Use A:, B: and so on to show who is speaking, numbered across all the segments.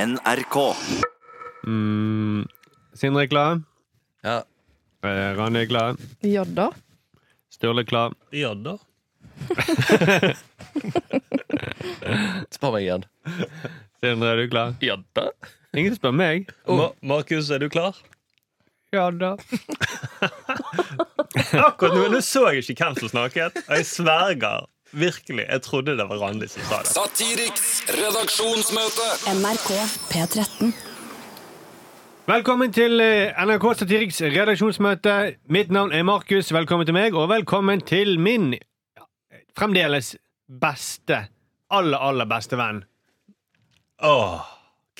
A: NRK.
B: Mm, Sindre er klar.
C: Ja.
B: Eh, Randi er klar.
D: Jodda.
B: Sturle er klar.
C: Ja da. Spør meg igjen.
B: Sindre, er du klar?
C: Ja da.
B: Ingen spør meg.
E: Oh.
C: Ma Markus, er du klar?
B: Ja da.
E: Akkurat nå, nå så jeg ikke hvem som snakket, og jeg sverger virkelig, jeg trodde det var Randi som sa det.
F: Satiriks redaksjonsmøte.
G: NRK P13.
B: Velkommen til eh, NRK Satiriks redaksjonsmøte. Mitt navn er Markus. Velkommen til meg, og velkommen til min ja, fremdeles beste, aller, aller beste venn.
E: Åh,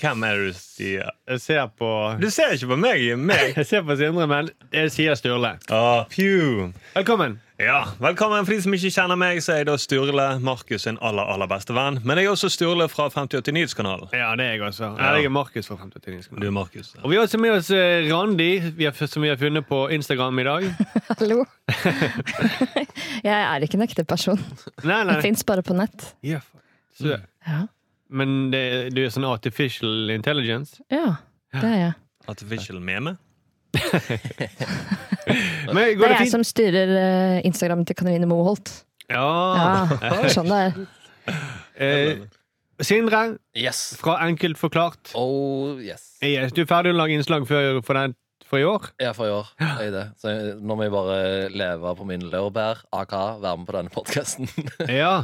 E: hvem er det du sier?
B: Jeg ser på
E: Du ser ikke på meg, meg.
B: Jeg ser på Sindre, men jeg sier Sturle.
E: Åh, pju.
B: Velkommen.
E: Ja, velkommen for de som ikke kjenner meg, så er jeg da Sturle, Markus sin aller, aller beste venn. Men jeg er også Sturle fra 58 Nyhetskanalen.
B: Ja, det er jeg også.
E: Ja.
B: Jeg er Markus fra Fremtidstidningen.
E: Du, Markus.
B: Og vi har også med oss eh, Randi, vi har, som vi har funnet på Instagram i dag.
D: Hallo. jeg er ikke en ekte person.
B: Nei, nei.
D: Jeg fins bare på nett.
B: Ja, faen. Så,
D: Ja.
B: men det, du er sånn artificial intelligence.
D: ja, det er jeg.
E: Artificial meme?
B: Men
D: Det
B: går
D: er sånn-
B: det
D: jeg
B: fint?
D: som styrer eh, Instagram til Karoline Moholt.
B: Ja.
C: Ah.
D: Ja, sånn det er.
B: Eh, Sindre
C: Yes.
B: fra Enkelt forklart.
C: Oh yes.
B: Yes, du er ferdig å lage innslag for, for, den, for i år?
C: Ja, for i år er jeg det. Så jeg- nå må jeg bare leve på mine laurbær, aka være med på denne podkasten.
B: Ja.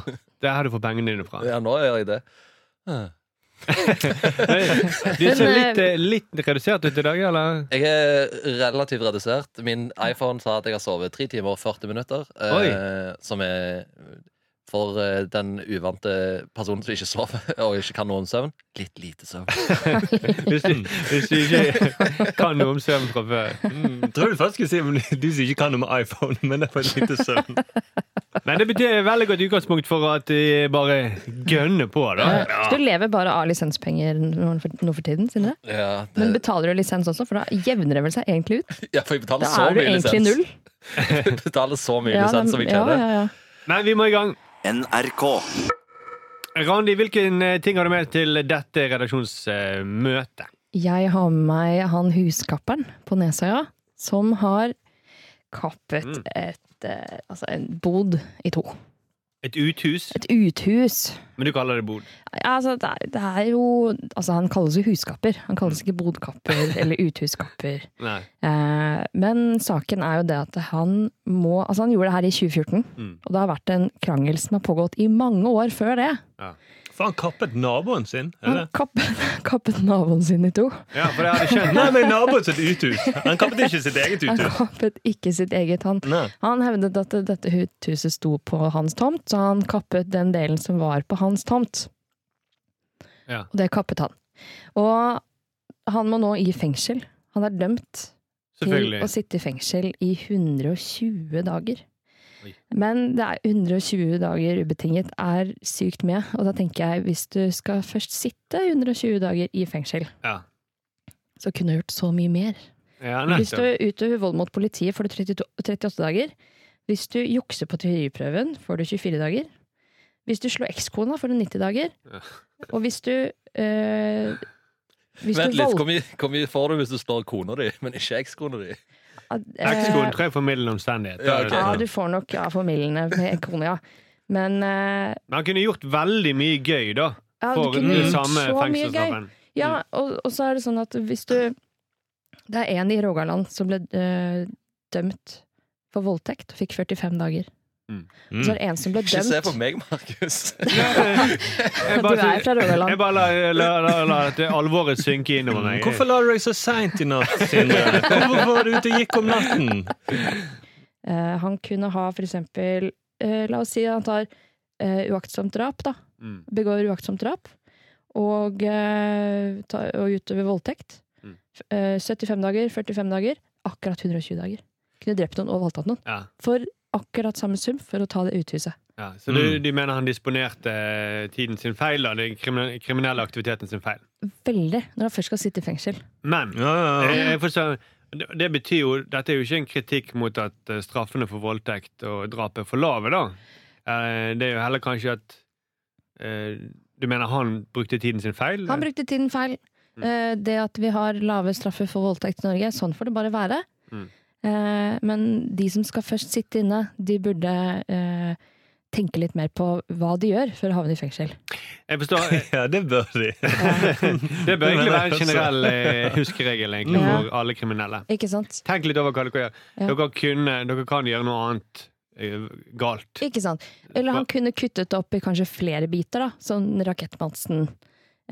B: Der har du fått pengene dine fra.
C: ja, nå gjør jeg det.
B: Du ser litt, eh, litt redusert ut i dag, eller?
C: Jeg er relativt redusert. Min iPhone sa at jeg har sovet 3 timer og 40 minutter. Eh, som er for eh, den uvante personen som ikke sover og ikke kan noe om søvn. Litt lite søvn.
B: Hvis du, hvis du ikke kan noe om søvn fra før.
E: Jeg tror du først skulle si om du som ikke kan noe med iPhone, men det var et lite søvn.
B: Men det betyr et veldig godt utgangspunkt for at de bare gønner på, da.
D: Så Du lever bare av lisenspenger nå for, nå for tiden, Sindre.
C: Ja, det,
D: Men betaler du lisens også, for da jevner det vel seg egentlig ut?
C: ja, for jeg betaler
D: Da
C: så
D: er du
C: mye lisens.
D: egentlig null.
C: Jeg betaler så mye
D: Ja,
C: lisens
D: men-
C: som jeg
D: ja,
C: kjenner.
D: ja, ja.
B: Men vi må i gang.
A: NRK.
B: Randi, hvilken eh, ting har du med til dette redaksjonsmøtet?
D: Jeg har med meg han huskapperen på Nesøya, som har kappet
B: Mm.
D: et eh, Altså en bod i to.
B: Et uthus,
D: Et uthus.
B: men du kaller det bod.
D: Ja, altså, det, er, det er jo Altså, han kalles jo huskapper. Han kalles ikke bodkapper eller uthuskapper.
B: Nei.
D: Eh, men saken er jo det at han må Altså, han gjorde det her i 2014,
B: Mm.
D: og det har vært en krangel som har pågått i mange år før det.
E: For han kappet naboen sin, er
D: Han
E: det?
D: kappet, kappet naboen sin i to.
B: Ja, for det hadde skjønt.
E: Nei, men naboen sitt uthus. Han kappet ikke sitt eget
D: Han
E: uthus.
D: kappet ikke sitt eget. Han,
E: Nei.
D: han hevdet at dette huset sto på hans tomt, så han kappet den delen som var på hans tomt.
B: Ja.
D: Og det kappet han. Og han må nå i fengsel. Han er dømt til å
B: Selvfølgelig.
D: sitte i fengsel i 120 dager.
B: Oi.
D: Men det er 120 dager ubetinget er sykt med, og da tenker jeg hvis du skal først sitte 120 dager i fengsel,
B: Ja.
D: så kunne du gjort så mye mer.
B: Ja,
D: Hvis du
B: nettopp.
D: utøver vold mot politiet, får du 32, 38 dager. Hvis du jukser på teoriprøven, får du 24 dager. Hvis du slår ekskona, får du 90 dager.
B: Ja.
D: Og hvis du eh, hvis
C: Vent
D: du
C: litt,
D: vold-
C: hvor mye, hvor mye får du hvis du slår kona di, men ikke ekskona di?
B: Ekskoden tror jeg formidler omstendighet.
C: Ja, ok.
D: Ah, eh, Ja, du får nok ja, formildende med ekskona, ja. Men eh,
B: Men han kunne gjort veldig mye gøy, da.
D: ja, du
B: For
D: kunne
B: den
D: gjort
B: samme
D: så mye gøy.
B: fengselsstraffen.
D: Ja, og, og så er det sånn at hvis du Det er en i Rogaland som ble eh, dømt for voldtekt og fikk 45 dager.
B: Mm.
D: Og Så er det en som ble
C: Ikke se
D: dømt
C: på meg, Markus.
B: Jeg
D: Du er
B: jeg
D: fra Rogaland.
B: bare lar la, la, la dette alvoret synke innover meg.
E: Mm, Hvorfor la du deg så seint i natt, Sindre? Hvorfor var du ute og gikk om natten?
D: Eh, han kunne ha for eksempel eh, La oss si han tar eh, uaktsomt drap, da.
B: Mm.
D: Begår uaktsomt drap. Og, eh, ta, og utøver voldtekt.
B: Mm.
D: F- eh, 75 dager, 45 dager. Akkurat 120 dager. Kunne drept noen og voldtatt noen.
B: Ja.
D: For akkurat samme sum for å ta det uthuset.
B: Ja. Så du, du mener han disponerte tiden sin feil, da? Den kriminelle- kriminelle aktiviteten sin feil?
D: Veldig, når han først skal sitte i fengsel.
B: Men
E: Ja, ja, ja.
B: Jeg- Eh, jeg forstår, det det betyr jo, Dette er jo ikke en kritikk mot at eh, straffene for voldtekt og drap er for lave, da. Eh, Det er jo heller kanskje at eh, Du mener han brukte tiden sin feil?
D: Han brukte tiden feil.
E: Mm.
D: Eh, Det at vi har lave straffer for voldtekt i Norge, sånn får det bare være.
B: Mm.
D: Eh, Men de som skal først sitte inne, de burde eh, tenke litt mer på hva de gjør før de havner i fengsel. Eh,
B: Jeg forstår. eh,
E: Ja, det bør de.
B: Det bør egentlig være en
E: Altså.
B: generell eh, huskeregel egentlig,
D: Ja.
B: for alle kriminelle.
D: Ikke sant?
B: Tenk litt over hva dere gjør.
D: Ja.
B: Dere, kunne, dere kan gjøre noe annet eh, galt.
D: Ikke sant? Eller han kunne kuttet det opp i kanskje flere biter, da. Sånn Rakett-Madsen.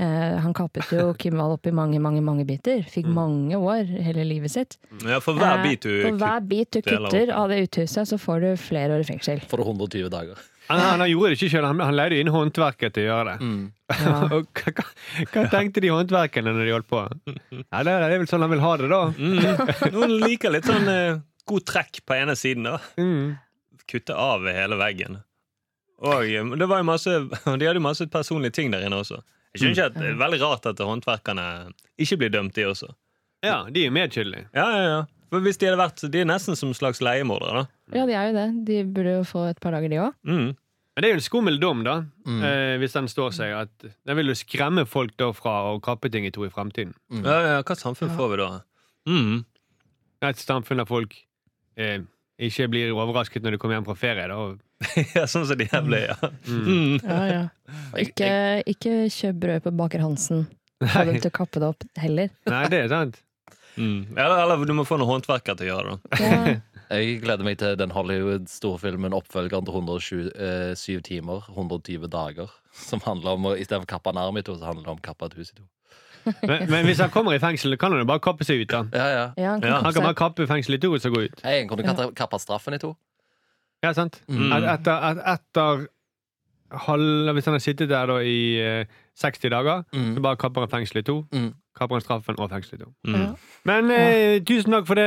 D: Eh, han kapet jo Kim Wahl opp i mange, mange mange biter. Fikk mange år, hele livet sitt.
E: Ja, for Mm. hver
D: Eh,
E: bit du
D: For hver bit du
E: deler
D: kutter
E: opp.
D: av det uthuset, så får du flere år i fengsel.
C: For 120 dager.
B: Han, han gjorde det ikke sjøl, han, han leide jo inn håndverket til å gjøre det.
D: Ja.
B: Og hva, hva, hva tenkte de håndverkene når de holdt på? Ja, det, det er vel sånn han vil ha det, da.
E: Mm. Noen liker litt sånn eh, god trekk på ene siden, da.
B: Mm.
E: Kutte av hele veggen. Og eh, det var jo masse, de hadde jo masse personlige ting der inne også. Jeg synes ikke at Det er veldig rart at håndverkerne ikke blir dømt, de også.
B: Ja, de er jo medskyldige.
E: Ja, ja, ja. For hvis De hadde vært, de er nesten som slags leiemordere, da.
D: Ja, de er jo det. De burde jo få et par dager, de òg.
E: Mm.
B: Men det er jo en skummel dom, da,
C: Mm.
B: eh, hvis den står seg. At den vil jo skremme folk da fra å kappe ting i to i fremtiden.
E: Ja, ja, Hva samfunn får vi da? Mm.
B: Et samfunn der folk eh, ikke blir overrasket når de kommer hjem fra ferie. da. og-
E: Ja, sånn som de her ble, ja. Mm.
D: Ikke, ikke kjøp brød på Baker Hansen. Få dem til å kappe det opp heller.
B: Nei, det er sant.
E: Mm. Eller, eller du må få noen håndverkere til å gjøre det. da.
D: Ja.
C: Jeg gleder meg til den Hollywood-storfilmen oppfølgeren til 107 timer, 120 dager, som handler om å istedenfor å kappe en arm i to, så handler det om å kappe et hus i to.
B: Men, men hvis han kommer i fengsel, kan han jo bare kappe seg ut. da.
C: Ja, ja.
D: Ja, han kan kappe
E: Ja.
B: Han kan
D: seg.
B: bare kappe fengselet i to og så gå ut.
C: Jeg kunne kappe- kappe straffen i to.
B: Ja, sant?
C: Mm.
B: At etter, at etter halv, Hvis han har sittet der da i eh, 60 dager,
C: Mm.
B: så bare kapper han fengselet i to.
C: Mm.
B: Kapper han straffen og fengselet i to.
E: Mm.
B: Men eh, tusen takk for det,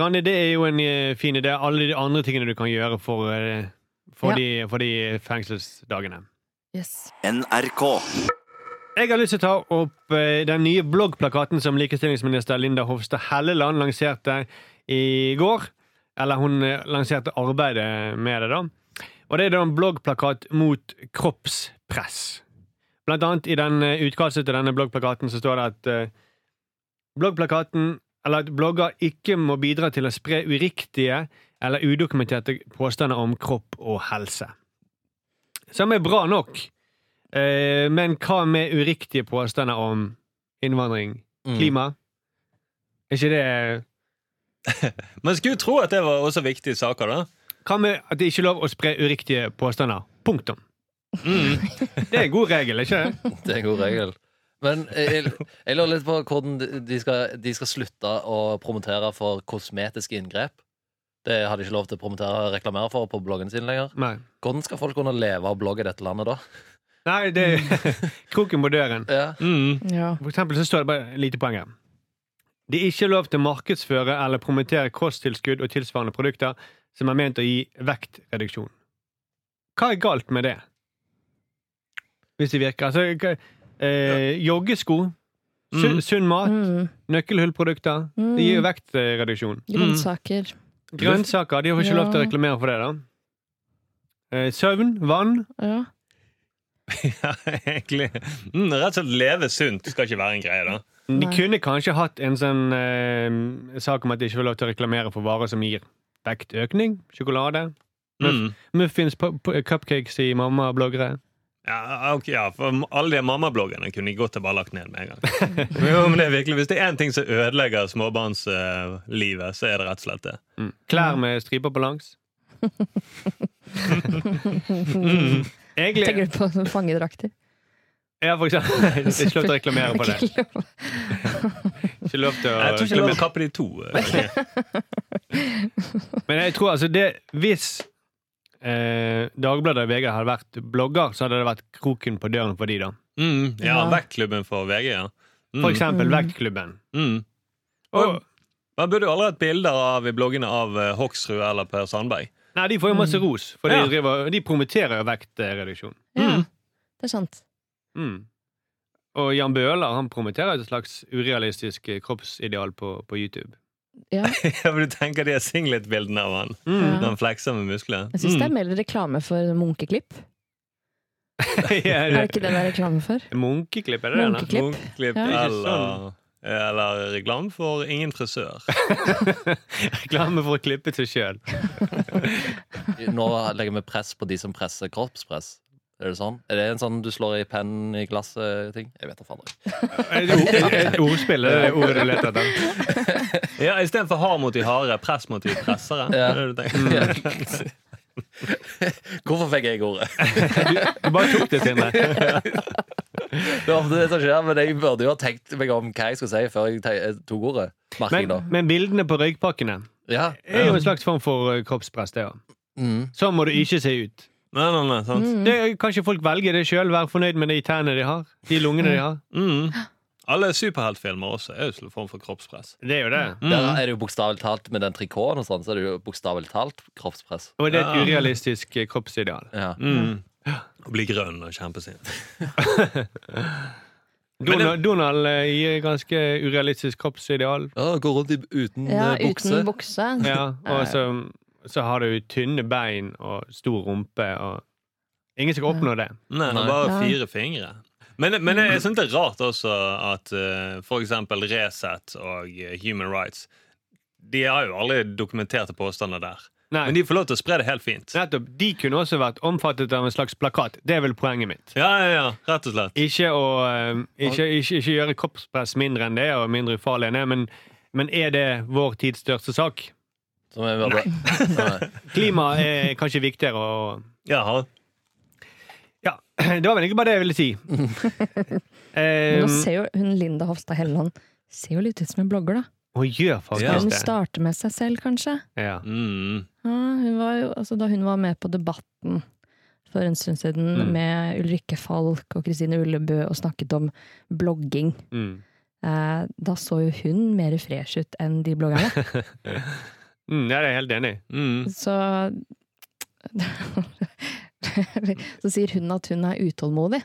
B: Randi. Det er jo en eh, fin idé. Alle de andre tingene du kan gjøre for, eh, for,
D: Ja.
B: de, for de fengselsdagene.
D: Yes.
A: NRK.
B: Jeg har lyst til å ta opp eh, den nye bloggplakaten som likestillingsminister Linda Hofstad Helleland lanserte i går. Eller hun eh, lanserte arbeidet med det, da. Og det er da en bloggplakat mot kroppspress. Blant annet i den eh, utkastet til denne bloggplakaten så står det at eh, bloggplakaten eller at blogger ikke må bidra til å spre uriktige eller udokumenterte påstander om kropp og helse. Som er bra nok. Eh, men hva med uriktige påstander om innvandring?
C: Mm.
B: Klima? Er ikke det
E: Man skulle jo tro at det var også viktige saker, da.
B: Hva med at det ikke er lov å spre uriktige påstander? Punktum.
E: Mm.
B: det er en god regel, ikke det?
C: Det er en god regel. Men jeg, jeg lurer litt på hvordan de skal, de skal slutte å promotere for kosmetiske inngrep. Det har de ikke lov til å promotere og reklamere for på bloggen sin lenger.
B: Nei.
C: Hvordan skal folk kunne leve av blogg i dette landet da?
B: Nei, det er kroken på døren.
C: Ja.
E: Mm.
D: Ja.
B: For eksempel så står det bare et lite poeng her. Det er ikke lov til å markedsføre eller promotere kosttilskudd og tilsvarende produkter som er ment å gi vektreduksjon. Hva er galt med det? Hvis det virker. Altså, hva- eh, joggesko, sunn,
E: Mm.
B: sunn mat,
D: Mm.
B: nøkkelhullprodukter. Det gir jo mm. vektreduksjon.
D: Grønnsaker.
B: Grønnsaker de har ikke
D: Ja.
B: lov til å reklamere for det. da. Eh, søvn, vann.
D: Ja.
E: Ja, egentlig. Mm, rett og slett leve sunt skal ikke være en greie, da.
B: De
D: Nei.
B: kunne kanskje hatt en sånn eh, sak om at de ikke får lov til å reklamere for varer som gir vektøkning. Sjokolade.
E: Mm.
B: Muffins, pu- pu- cupcakes i mamma-bloggere.
E: Ja, ok, ja, for alle de mammabloggerne kunne de godt ha bare lagt ned med en gang. jo, men det er virkelig, Hvis det er én ting som ødelegger småbarnslivet, så er det rett og slett det.
B: Mm.
E: Mm.
B: Klær med striper på langs. Jeg gleder-
D: Tenker du på sånne fangedrakter?
B: Ja, for eksempel. Det er ikke lov til å reklamere for det. Ikke lov til å
E: Jeg tror ikke det var å kappe de to. eh, kanskje.
B: Men jeg tror altså det Hvis eh, Dagbladet og VG hadde vært blogger, så hadde det vært kroken på døren for de da.
E: Mm, ja,
D: Ja.
E: Vektklubben for VG, ja. Mm,
B: For eksempel Vektklubben.
E: Mm.
B: Og,
E: Man burde jo aldri hatt bilder av i bloggene av eh, Hoksrud eller Per Sandberg.
B: nei, de får jo masse ros, for de,
E: Ja.
B: driver, de promoterer jo vektreduksjon.
D: Ja, det er sant.
B: Mm. Og Jan Bøhler han promoterer et slags urealistisk eh, kroppsideal på, på YouTube.
D: Ja.
E: Ja, for du tenker de har singlet-bildene av han
B: Mm.
E: når han flekser med Mm. muskler.
D: Jeg syns det
E: Mm.
D: er mer reklame for munkeklipp.
B: Ja,
D: Er det
B: det-
D: ikke det det er reklame for?
B: Munkeklipp, er det det? da?
D: Munkeklipp.
E: Munkeklipp
D: Ja.
B: Ikke sånn.
E: eller, eh, eller reklame for ingen frisør.
B: Reklame for å klippe seg sjøl.
C: Nå legger vi press på de som presser kroppspress. Er det sånn? Er det en sånn du slår i pennen i glasset-ting? Jeg vet da faen.
B: Et ordspill er det ordet du leter etter.
E: Ja, Istedenfor hard mot de harde, press mot de pressere.
C: Ja.
E: Er det det
B: Mm.
E: du tenker?
C: ikke. Mm. Hvorfor fikk jeg ordet?
B: Du bare tok det, Sindre.
C: Det er ofte det som skjer, men jeg burde jo ha tenkt meg om hva jeg skulle si før jeg te- tok ordet. Merker jeg
B: Men,
C: da.
B: men bildene på røykpakkene
C: Ja.
B: er jo en slags form for eh, kroppspress, det òg.
C: Mm.
B: Sånn må du ikke se ut.
E: Nei, nei, nei, sant?
B: Det, kanskje folk velger det sjøl, være fornøyd med de tennene de har, de lungene de har.
E: Mm. Alle superheltfilmer også er jo en form for kroppspress.
B: Det er jo det.
C: Der er det jo bokstavelig talt med den trikoten og sånn, så er det jo bokstavelig talt kroppspress.
B: Og det er et urealistisk eh, kroppsideal.
C: Ja.
E: Mm. Å bli grønn og kjempesint.
B: Donald, Donald eh, gir ganske urealistisk kroppsideal.
C: Ja, gå rundt i,
B: Mm,
C: uten
D: Ja,
C: eh, bukse.
D: uten bukse.
B: Ja, og så, så har du tynne bein og stor rumpe og Ingen skal oppnå det.
E: Nei,
C: Nei.
E: bare
D: Nei.
E: fire fingre. Men, men jeg syns det er rart også at eh, for eksempel Resett og eh, Human Rights De har jo aldri dokumenterte påstander der.
B: Nei.
E: Men de får lov til å spre det helt fint.
B: Nettopp. De kunne også vært omfattet av en slags plakat. Det er vel poenget mitt.
E: Ja, ja, ja, rett og slett.
B: Ikke å eh, ikke, ikke, ikke gjøre kroppspress mindre enn det og mindre ufarlig enn det, men, men er det vår tids største sak?
C: Som er bare, Nei.
B: Klima er kanskje viktigere å
E: Jaha.
B: Ja, det var vel egentlig bare det jeg ville si.
D: Men
B: Eh,
D: nå ser jo hun Linda Hofstad Helleland ser jo litt ut som en blogger, da.
B: og gjør
E: Ja.
D: Hun
B: faktisk det.
D: starter med seg selv, kanskje.
B: Ja.
E: Mm.
D: Ja, hun var jo, altså, da hun var med på Debatten for en stund siden
B: Mm.
D: med Ulrikke Falk og Kristine Ullebø og snakket om blogging,
B: Mm.
D: eh, da så jo hun mer fresh ut enn de bloggerne.
B: Mm, ja, det er jeg helt enig i.
E: Mm.
D: Så Så sier hun at hun er utålmodig.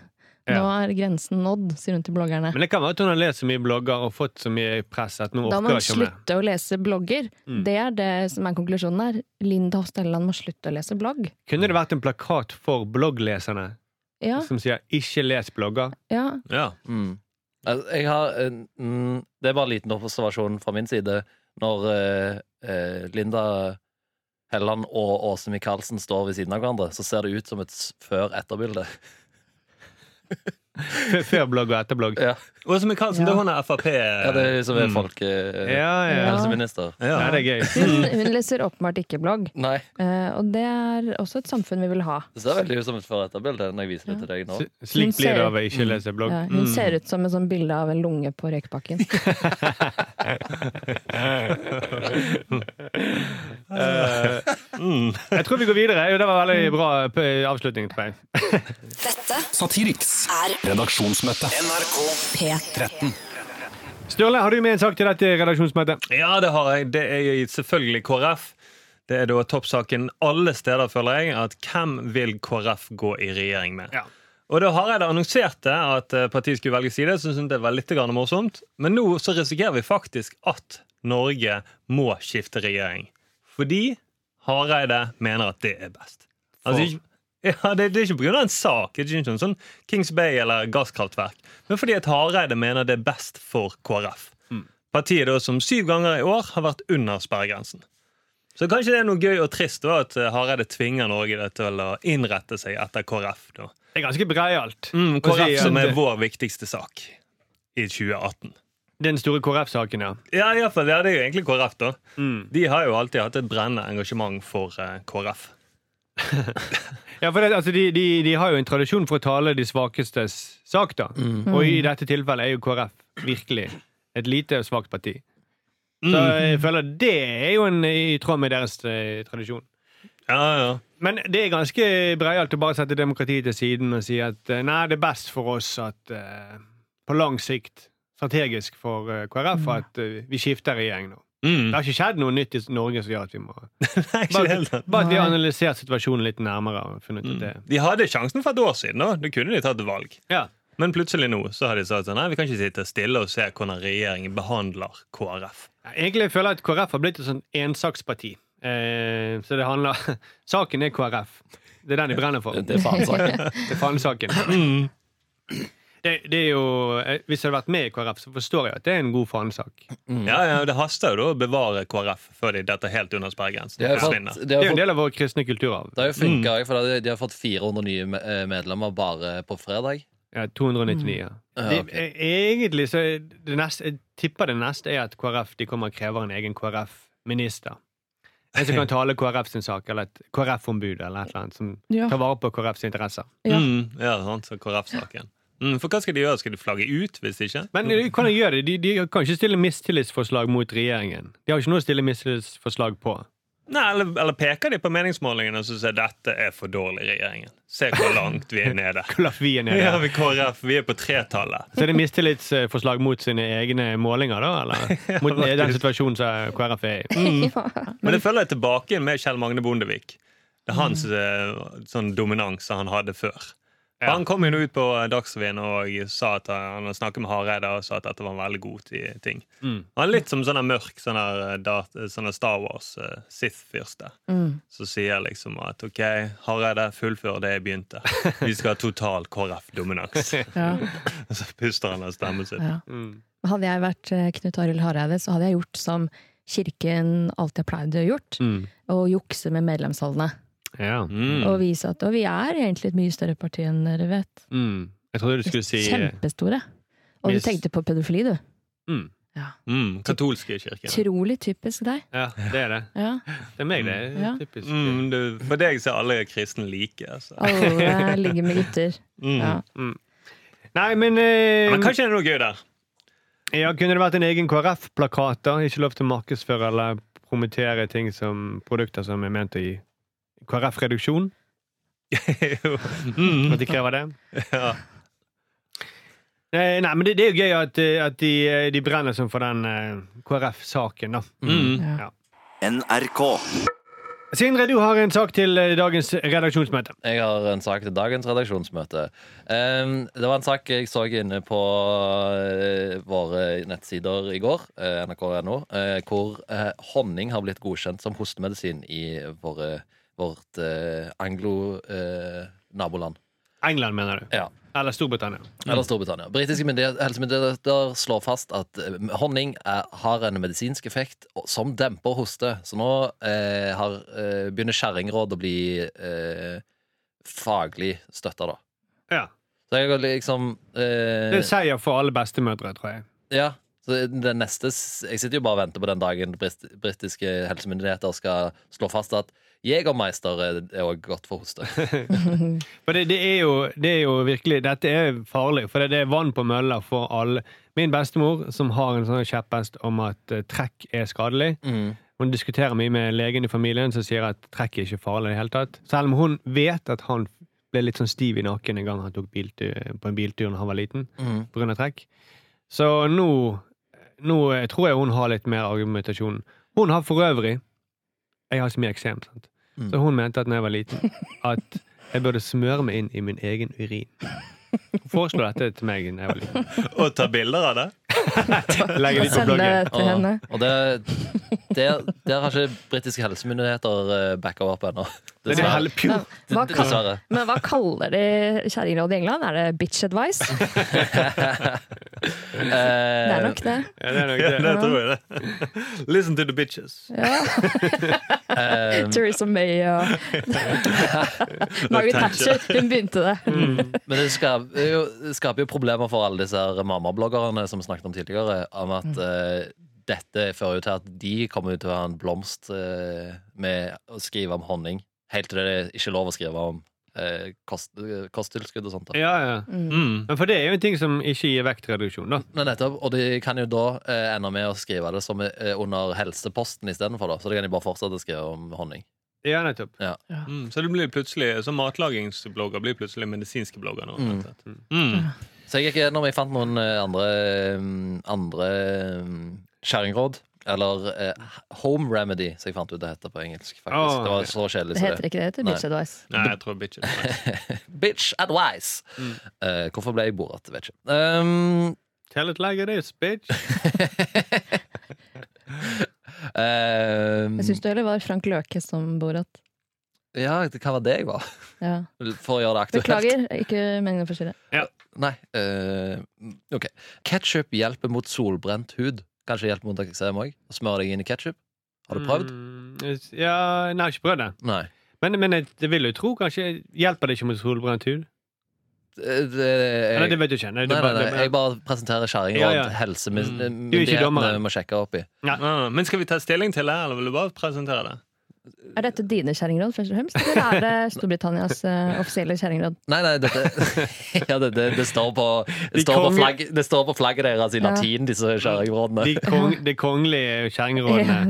D: Nå
B: Ja.
D: er grensen nådd, sier hun til bloggerne.
B: Men det kan være at hun har lest så mye blogger og fått så mye press at nå
D: Da
B: orker
D: må man
B: hun ikke mer.
D: slutte å lese blogger.
B: Mm.
D: Det er det som er konklusjonen her. Linda Hostelland må slutte å lese blogg.
B: Kunne det vært en plakat for bloggleserne
D: Ja,
B: som sier 'ikke les blogger'?
D: ja.
E: Ja.
C: Mm. Altså, jeg har en- mm, Det er bare en liten observasjon fra min side. Når eh, eh, Linda Helland og Åse Michaelsen står ved siden av hverandre, så ser det ut som et s- før-etter-bilde.
B: F- Før blogg og etter blogg.
C: Ja.
E: Åse Michaelsen,
D: Ja.
E: det er hun er Frp.
C: ja, det er hun som eh, er
E: Mm.
C: folkehelseminister.
B: Ja, ja.
D: Ja.
E: Ja.
B: Nei, det er gøy.
D: Hun, hun leser åpenbart ikke blogg,
C: Nei,
D: eh, og det er også et samfunn vi vil ha.
C: det ser veldig ut som et før-etter-bilde når jeg viser det til deg nå.
B: S- Slik blir det av å ikke lese blogg.
D: Mm. Ja, hun ser ut som et sånn bilde av en lunge på røykpakken.
B: Jeg tror vi går videre. Jo, det var veldig bra eh, p- avslutning. tror jeg.
G: Dette
F: Satiriks
G: er
F: redaksjonsmøte. NRK
G: P13.
B: Sturle, har du med en sak til dette redaksjonsmøtet?
E: Ja, det har jeg. Det er selvfølgelig KrF. Det er da toppsaken alle steder, føler jeg, at hvem vil KrF gå i regjering med?
B: Ja.
E: Og da har jeg da annonsert det, at eh, partiet skulle velge side, så syntes jeg det var litt grann morsomt. Men nå så risikerer vi faktisk at Norge må skifte regjering. Fordi Hareide mener at det er best. Altså, ikke- ja, det, det er ikke på grunn av en sak, det er ikke en sånn Kings Bay eller gasskraftverk, men fordi at Hareide mener det er best for KrF. Partiet da som syv ganger i år har vært under sperregrensen. Så kanskje det er noe gøy og trist da, at eh, Hareide tvinger Norge da til å innrette seg etter KrF. da.
B: Det er ganske breialt.
E: Mm, KrF som er
B: Det-
E: vår viktigste sak i 2018.
B: Den store KrF-saken, ja.
E: Ja, i hvert fall, ja, det er jo egentlig KrF, da.
B: Mm.
E: De har jo alltid hatt et brennende engasjement for eh, KrF.
B: ja for det, altså, de, de, de har jo en tradisjon for å tale de svakestes sak, da.
E: Mm.
B: Og i dette tilfellet er jo KrF virkelig et lite og svakt parti.
E: Mm.
B: Så jeg føler det er jo en, i tråd med deres eh, tradisjon.
E: Ja, ja.
B: Men det er ganske breialt å bare sette demokratiet til siden og si at eh, nei, det er best for oss at eh, på lang sikt, strategisk for eh, KrF, at eh, vi skifter regjering nå.
E: Mm.
B: Det har ikke skjedd noe nytt i Norge som gjør at vi må
E: Nei, ikke
B: Bare,
E: helt sant.
B: bare at vi har analysert situasjonen litt nærmere og funnet ut det.
E: De hadde sjansen for et år siden, da. Da kunne de tatt et valg.
B: Ja.
E: Men plutselig nå så har de sagt sånn, nei, vi kan ikke sitte stille og se hvordan regjeringen behandler KrF.
B: Egentlig føler jeg at KrF har blitt et sånn ensaksparti. Eh, så det handler Saken er KrF. Det er den de brenner for.
C: Det er faen sagt.
B: Det er fanesaken. Det, det er jo, eh, hvis jeg hadde vært med i KrF, så forstår jeg at det er en god fanesak.
C: Mm.
E: Ja, ja, Det haster jo da å bevare KrF før de detter helt under sperregrensen.
C: De har jo
E: Forsvinner.
C: fått, de
B: Det
C: har
B: er jo en
C: fått,
B: del av vår kristne kulturarv.
C: det har jo funka òg, for de, de har fått 400 nye me- eh, medlemmer bare på fredag.
B: Ja, 299. ja.
C: Mm. Ja,
B: Det,
C: ok.
B: e- egentlig så er det neste, Jeg tipper det neste er at KrF de kommer og krever en egen KrF-minister. En som kan tale KrF sin sak, eller et KrF-ombud, eller et eller annet. Som
D: Ja.
B: tar vare på KrFs interesser.
D: Ja.
E: Mm, ja, sant, så KrF-saken. Mm, for hva skal de gjøre? Skal de flagge ut hvis ikke?
B: Men de kan jo gjøre det. De, de kan ikke stille mistillitsforslag mot regjeringen. De har ikke noe å stille mistillitsforslag på.
E: Nei, eller, eller peker de på meningsmålingene og så sier dette er for dårlig, regjeringen? Se hvor langt vi er nede.
B: Klaff vi er nede.
E: Ja, vi KrF, vi er på tretallet.
B: Så er det mistillitsforslag mot sine egne målinger, da? Eller mot den situasjonen som KrF er i?
E: Men det følger jeg tilbake igjen med Kjell Magne Bondevik. Det er hans eh, sånn dominans som han hadde før. For Han kom jo nå ut på Dagsrevyen og sa at han han snakket med Hareide og sa at dette var en veldig god ti- ting.
B: Mm.
E: Han er litt som sånn her mørk sånn her, eh, dat- eh, sånn her Star Wars eh, Sith-fyrste.
D: Mm.
E: Som sier liksom at OK, Hareide, fullfør det jeg begynte. Vi skal ha total KrF-dominans.
D: Ja.
E: Og så puster han av stemmen sin.
D: Ja.
B: Mm.
D: Hadde jeg vært eh, Knut Arild Hareide, så hadde jeg gjort som kirken alltid har pleid å gjort,
B: Mm.
D: å jukse med medlemstallene.
B: Ja.
E: Mm.
D: Og vise at og vi er egentlig et mye større parti enn dere vet.
B: Mm. Jeg trodde du skulle si
D: Kjempestore. Og du
B: hvis-
D: tenkte på pedofili, du.
B: mm.
D: Ja.
E: Mm, katolske kirken.
D: Utrolig typisk deg.
B: Ja, det er det.
D: Ja.
B: Det er meg, det. er
D: Ja.
B: Typisk.
E: Mm, du, for deg så er alle kristne like. Altså.
D: Alle ligger med gutter.
E: Mm.
D: Ja.
B: Nei, men, eh,
C: Um,
E: Men kanskje det er noe gøy der.
B: ja, Kunne det vært en egen KrF-plakat, da? Ikke lov til å markedsføre eller promotere ting som produkter som er ment å gi KrF-reduksjon?
E: mm.
B: At de krever det?
E: ja.
B: Eh, Nei, men det, det er jo gøy at, eh, at de, eh, de brenner sånn for den eh, KrF-saken, da.
E: mm.
D: Ja.
F: NRK.
B: Sindre, du har en sak til eh, dagens redaksjonsmøte.
C: Jeg har en sak til dagens redaksjonsmøte. Ehm, det var en sak jeg så inne på eh, våre nettsider i går, eh, nrk.no, eh, hvor eh, honning har blitt godkjent som hostemedisin i våre, vårt eh, anglo-naboland.
B: England, mener du?
C: ja.
B: Eller Storbritannia?
C: Eller Storbritannia. Britiske myndighet- helsemyndigheter slår fast at eh, honning er, har en medisinsk effekt som demper hoste. Så nå eh, har, eh, begynner kjerringråd å bli eh, faglig støtta, da.
B: Ja.
C: Så jeg går liksom eh,
B: Det er seier for alle bestemødre, tror jeg.
C: Ja. Så den neste s- Jeg sitter jo bare og venter på den dagen brist, britiske helsemyndigheter skal slå fast at Jegermeister er er også godt for hoste.
B: For det, det, er jo, det er jo virkelig Dette er farlig, for det, det er vann på mølla for alle. Min bestemor, som har en sånn kjepphest om at eh, trekk er skadelig
C: Mm.
B: Hun diskuterer mye med legen i familien, som sier at trekk er ikke farlig i det hele tatt. Selv om hun vet at han ble litt sånn stiv i nakken en gang han tok biltur, på en biltur da han var liten.
C: Mm.
B: på grunn av trekk. Så nå, nå eh, tror jeg hun har litt mer argumentasjon. Hun har for øvrig Jeg har så mye eksem, sant?
C: Mm.
B: så hun mente at når jeg var liten, at jeg burde smøre meg inn i min egen urin. Hun foreslo dette til meg da jeg var liten.
E: Og ta bilder av det.
B: Legger det ut på
D: Send det
B: bloggen.
C: Og,
D: til henne.
C: og det, der, der har ikke britiske helsemyndigheter eh, backa opp ennå.
B: Det er det hele pjo.
D: Men hva, kall-
C: Dessverre.
D: men hva kaller de kjerringrådet i England? Er det bitch advice? Det er
C: Eh,
D: nok det.
B: Ja, det er nok
E: Ja,
B: det.
E: det tror jeg det. Listen to the bitches.
D: Ja. Theresa May og Margaret
E: Thatcher.
D: Thatcher. Hun begynte det.
C: Men det skaper jo, det skaper jo problemer for alle disse her mammabloggerne som vi snakket om tidligere, om at
D: Mm.
C: eh, dette fører jo til at de kommer jo til å ha en blomst eh, med å skrive om honning, helt til det er ikke lov å skrive om eh, kost, eh, kosttilskudd og sånt. da.
B: Ja, ja.
E: Mm.
B: Men for det er jo en ting som ikke gir vektreduksjon, da.
C: Men nettopp, og de kan jo da eh, ende med å skrive det som eh, under helseposten istedenfor, da. Så da kan de bare fortsette å skrive om honning.
B: Ja, nettopp.
E: Mm. Så det blir plutselig Så matlagingsblogger blir plutselig medisinske blogger nå.
C: Mm.
E: rett og slett. Mm.
C: Så jeg gikk gjennom Jeg fant noen eh, andre mm, Andre mm, kjerringråd. Eller eh, Home Remedy, som jeg fant ut det heter på engelsk. faktisk
B: Ah,
C: Det
B: ok.
C: var så kjedelig
D: Det
C: som
D: heter ikke det. Det heter bitch advice.
E: Nei, jeg tror bitches.
C: Bitch advice!
B: Mm.
C: Eh, hvorfor ble jeg bordet? Vet ikke. Um,
B: Tell it like it is, bitch.
C: um, ehm, Mm.
D: Jeg syns det heller var Frank Løke som Borat.
C: Ja, det kan være det jeg var.
D: Ja.
C: For å gjøre det aktuelt.
D: Beklager, ikke meningen å forstyrre.
C: Nei. eh, ok. Ketchup hjelper mot solbrent hud. Kanskje hjelper mot eksem òg. Smør deg inn i ketchup. Har du prøvd?
B: Mm, ja, nei, jeg har ikke prøvd det.
C: Nei.
B: Men, men jeg, det vil jo tro kanskje Hjelper det ikke mot solbrent hud?
C: Eh, Det, det,
B: Eller det
C: jeg,
B: vet du ikke. Nei, det
C: nei,
B: er
C: nei,
B: bare-
C: nei,
B: det er
C: jeg bare presenterer
B: Ja,
C: kjerringråd
B: ja. Du
E: Mm.
B: er ikke
C: helsemyndighetene
B: dommeren.
C: må sjekke opp i.
E: Nei, nei, nei. Men skal vi ta stilling til det, eller vil du bare presentere det?
D: Er dette dine kjerringråd, først og fremst, eller er det Storbritannias eh, offisielle kjerringråd?
C: Nei, nei, dette ja, det, det, det, står på,
B: De
C: det, står på
B: konge-
C: flagg, det står på flagget deres i
D: Ja.
C: latin, disse kjerringrådene.
B: de, kong, de kongelige kjerringrådene.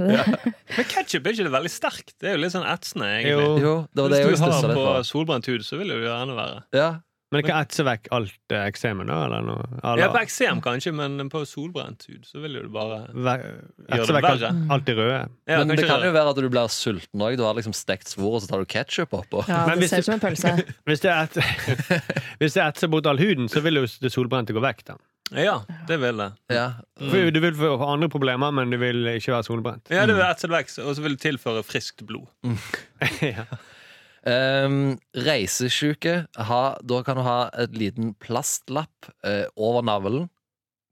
E: Men ketsjup er ikke det veldig sterkt? Det er jo litt sånn etsende,
B: Jo.
E: egentlig.
C: Jo, det var det jeg også
E: Hvis du
C: stussa
E: har
C: litt
E: på
C: på.
E: solbrent hud, så vil det jo gjerne være
C: Ja.
B: Men det kan etse vekk alt eh, eksemen, da? Eller noe?
E: Ja, på
B: Eller,
E: eksem kanskje, men på solbrent hud så vil jo det bare
B: ve-
E: Gjør
B: etse
E: det
B: vekk alt,
E: verre.
B: alt det røde.
E: Ja,
C: Men det
E: kanskje
C: kan jo være at du blir sulten òg. Du har liksom stekt svor, og så tar du ketsjup oppå.
D: Ja,
B: Men
D: det
B: hvis
D: ser ut som en pølse.
B: Hvis det, er et, hvis det etser bort all huden, så vil jo det solbrente gå vekk. da
E: Ja, det vil det.
C: Ja. Mm.
B: For Du vil få andre problemer, men du vil ikke være solbrent.
E: Ja, det vil etse det vekk, og så vil det tilføre friskt blod.
B: ja.
C: Um, reisesjuke ha, Da kan du ha et liten plastlapp eh, over navlen.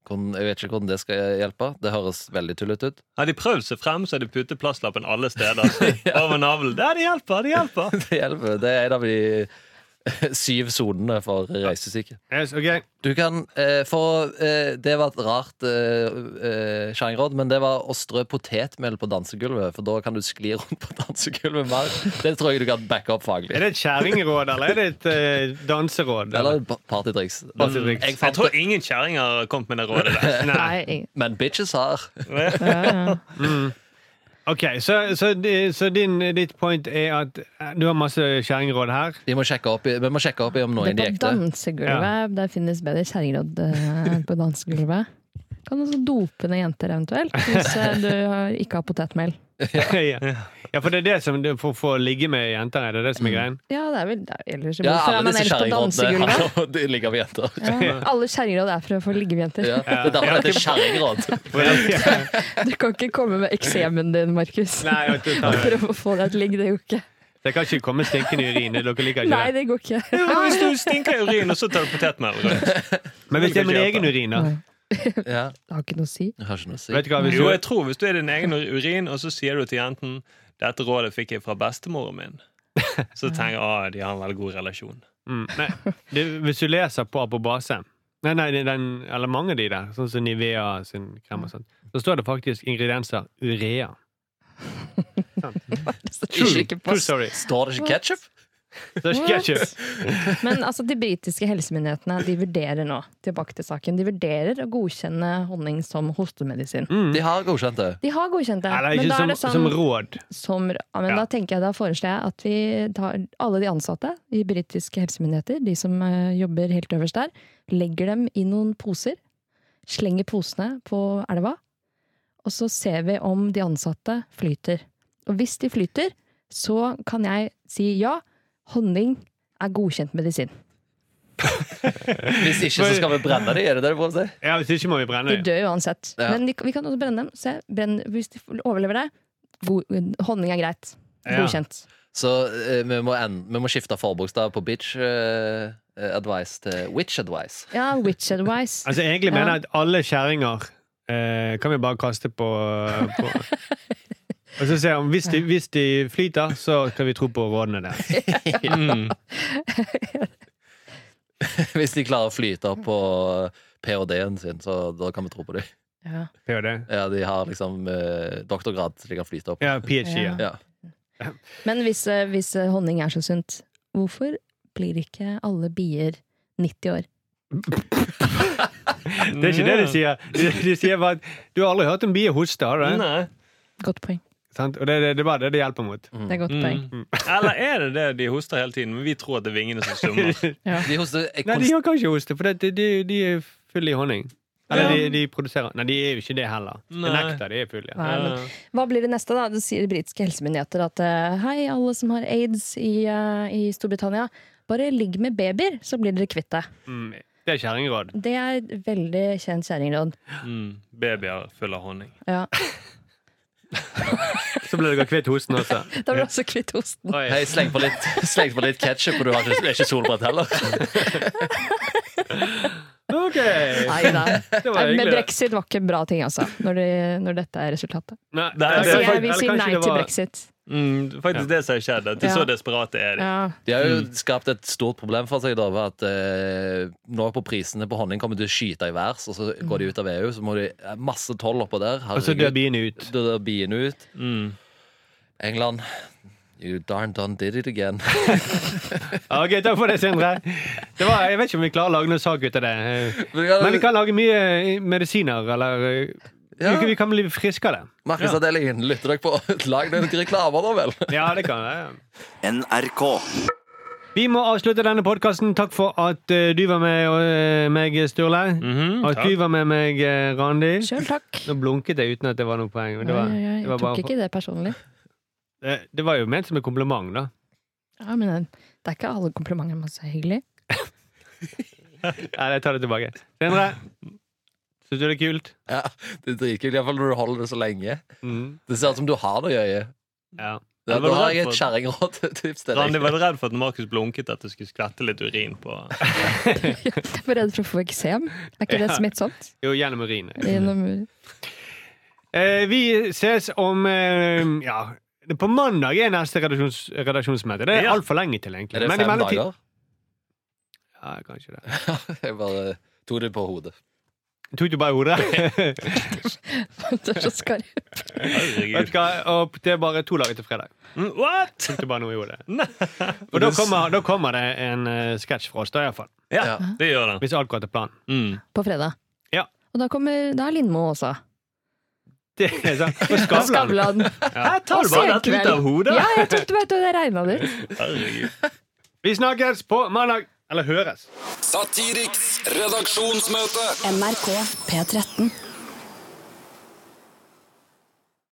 C: Hvordan, jeg vet ikke hvordan det skal hjelpe. Det høres veldig tullete ut.
E: Har de prøvd seg frem, så har de puttet plastlappen alle steder. Altså, Over navlen. Ja, det hjelper! Det hjelper!
C: Det hjelper. Det er en av de eh, syv sonene for reisesyke.
B: Yes, ok.
C: Du kan eh, For eh, det var et rart eh, eh, sjangerråd, men det var å strø potetmel på dansegulvet, for da kan du skli rundt på dansegulvet mer. Det tror jeg du kan backe opp
B: Er
C: faglig.
B: det et kjerringråd, eller er det et eh, danseråd?
C: Eller pa- partytriks.
B: Partytriks.
C: Jeg
E: Jeg
C: fant
E: tror
C: det,
E: ingen kjerringer har kommet med det rådet der.
D: Nei, ingen.
C: men bitches har.
D: Ja, ja.
B: Ok, Så, så, di- så din, ditt point er at eh, du har masse kjerringråd her?
C: Vi må sjekke opp i, vi må sjekke opp i om
D: Det
C: noen
D: er
C: de er
D: på
C: ekte.
D: dansegulvet. Der finnes bedre kjerringråd eh, enn på dansegulvet. Kan også dope ned jenter eventuelt, hvis eh, du har- ikke har potetmel.
B: ja. ja, for det er det som det- for, for å ligge med jenter, er det det som er greien?
E: Mm.
D: Ja, det er vel der, ellers
C: Ja,
D: Hvorfor er
C: alle
D: man
C: disse
D: ellers på
C: kjerringrådene
D: dansegulvet?
C: har- de ligger med jenter.
D: Ja. Alle kjerringråd er for å få ligge med jenter.
C: Ja. Det er derfor det heter kjerringråd.
D: Du kan ikke komme med eksemen din, Markus.
B: Nei, vet du, ta det.
D: For å få deg et ligg, det går ikke.
B: det kan ikke komme stinkende urin. Dere liker
D: Nei,
B: ikke det.
D: det går ikke.
E: Men Hvis du stinker urin, og så tar du potetmel rundt.
B: Men hvis det er min
E: Ikke
B: egen urin, da?
C: Ja,
D: Det har ikke noe å si.
C: jeg har ikke noe å si.
B: Vet du hva, hvis
E: Jo, jeg
B: du,
E: tror hvis du er din egen urin, og så sier du til jenten 'Dette rådet fikk jeg fra bestemoren min', så tenker jeg at de har en veldig god relasjon.
B: mm, nei, du, hvis du leser på Apobase Nei, nei, den, eller mange av de der, sånn som Nivea sin krem og sånn, så står det faktisk ingredienser urea.
D: Ikke- ikke på-
B: True story.
C: Står det ikke ketsjup?
B: Så ketchup.
D: Men altså, de britiske helsemyndighetene de vurderer nå tilbake til saken, de vurderer å godkjenne honning som hostemedisin.
C: De har godkjent det.
D: De har godkjent det,
B: Mm. Eller
D: men
B: ikke
D: da er
B: som,
D: det sånn
B: som råd.
D: som, ja, men
B: Ja.
D: da tenker jeg, da foreslår jeg at vi tar alle de ansatte i britiske helsemyndigheter, de som eh, jobber helt øverst der, legger dem i noen poser, slenger posene på elva, og så ser vi om de ansatte flyter. Og hvis de flyter, så kan jeg si ja, honning er godkjent medisin.
C: Hvis ikke, så skal vi brenne de, er det det du prøver å si?
B: Ja, hvis ikke må vi brenne
D: De
B: det.
D: dør jo uansett.
C: Ja.
D: Men de, vi kan også brenne dem. Se, brenn, hvis de overlever det, god, honning er greit.
B: Ja.
D: Godkjent.
C: Så eh, vi, må en, vi må skifte forbokstav på bitch eh, advice til witch advice.
D: Ja, witch advice.
B: Altså, egentlig mener
D: Ja.
B: jeg at alle kjerringer eh, kan vi bare kaste på, eh, på. Og så ser jeg om hvis de, hvis de flyter, så kan vi tro på rådene der.
C: Hvis de klarer å flyte opp på eh, ph.d.-en sin, så da kan vi tro på dem.
D: Ja.
B: Det er jo det.
C: Ja, de har liksom eh, doktorgrad, så de kan flyte opp.
B: Ja, PhD. Ja.
C: Ja.
D: Men hvis, eh, hvis eh, honning er så sunt, hvorfor blir ikke alle bier 90 år?
B: Det er ikke
E: Mm.
B: det de sier. De, de sier bare at du har aldri hørt en bie hoste, har du det?
E: Nei.
D: Godt poeng.
B: Sant? Og det, det, det er bare det det hjelper mot.
D: Det er godt poeng.
E: Mm. Eller er det det de hoster hele tiden, men vi tror at det er vingene som summer?
C: De hoster
B: Nei,
C: eh,
B: de
C: konst...
B: har kanskje hoste, for det, de, de er fulle i honning. Eller de, de produserer Nei, de er jo ikke det heller.
E: Nei.
B: Det nektar de er fulle. Ja.
D: Nei, men,
E: Ja.
D: hva blir det neste, da? Det sier britiske helsemyndigheter at eh, hei, alle som har aids i, eh, i Storbritannia, bare ligg med babyer, så blir dere kvitt det.
B: Mm, det er kjerringråd.
D: Det er et veldig kjent kjerringråd.
E: Mm. Babyer full av honning.
D: Ja.
B: Så ble dere kvitt hosten også.
D: Da blir du også kvitt hosten.
C: Hei, sleng på litt, sleng på litt ketsjup, og du har ikke, er ikke solbrent heller.
B: OK.
D: Nei da.
B: Det var
D: Men
B: hyggelig.
D: brexit var ikke en bra ting, altså. Når, det, når dette er resultatet.
B: Nei,
E: Nei, det er
D: Så
E: fakt-
D: jeg vil si nei til brexit.
E: Mm, det er faktisk det som har skjedd. At de
D: Ja.
E: så desperate er de.
D: Ja.
C: De har jo skapt et stort problem for seg da, ved at eh, nå på prisene på honning kommer de til å skyte i værs, og så går de ut av EU, så må de eh, masse toll oppå der.
B: Og så dør biene ut.
C: Da dør biene ut.
E: Mm.
C: England, you darn done did it again.
B: OK, takk for det, Sindre. Det var, jeg vet ikke om vi klarer å lage noen sak ut av det. Men vi kan lage mye eh, medisiner, eller eh,
C: Ja.
B: Vi kan bli friske av det.
C: Markedsavdelingen, lytter dere på? Lag noen reklamer, da vel?
B: Ja, det kan være.
F: NRK.
B: Vi må avslutte denne podkasten. Takk for at eh, du var med eh, meg, Sturle.
E: Mhm,
B: At
E: takk.
B: du var med meg, eh, Randi.
D: Sjøl takk.
B: Nå blunket jeg uten at det var noe poeng. men Det var,
D: Oi, oi, oi.
B: det var,
D: Jeg
B: bare
D: tok
B: for,
D: ikke det personlig.
B: det, det var jo ment som en kompliment, da.
D: Ja, men det er ikke alle komplimenter man sier hyggelig.
B: Nei, jeg tar det tilbake. Sindre, syns du det er kult?
C: Ja, det er dritkult, iallfall når du holder det så lenge.
B: Mm.
C: Det ser ut som du har noe i øyet.
B: Ja.
C: Da
E: Jeg var
C: da har
E: redd
C: jeg et
E: for-
C: kjerringråd-tips til
E: Randi
C: deg.
E: var redd for at Markus blunket at det skulle skvette litt urin på
D: Jeg var redd for å få eksem. Er ikke det smittsomt?
B: Jo, gjennom urin.
D: Gjennom
B: Eh, vi ses om eh, Ja, det er på mandag er neste redaksjons, redaksjonsmøte. Det er
E: Ja.
B: altfor lenge til, egentlig.
C: Er det
B: Men i
C: fem
B: mellomtid-
C: dager?
B: Ja, kanskje det.
C: Jeg bare tok det på hodet.
B: Tok du bare hodet?
D: Det er så skarp.
B: Vet
E: Herregud.
B: du hva, og det er bare to dager til fredag.
E: Mm, What?!
B: Tok det bare noe i hodet. Og da kommer, da kommer det en eh, sketsj fra oss, da iallfall.
E: Ja, det gjør det.
B: Hvis alt går etter planen.
E: Mm.
D: På fredag.
B: Ja.
D: Og da kommer da er Lindmo også.
B: Det er sant. Og Skavlan.
D: Skavlan.
E: Jeg tar det
D: Og
E: bare dette ut
D: Senkveld.
E: av hodet!
D: Ja, jeg tok det, vet du, det regna det ut.
E: Herregud.
B: Vi snakkes på mandag. Eller høres.
F: Satiriks redaksjonsmøte.
G: NRK P13.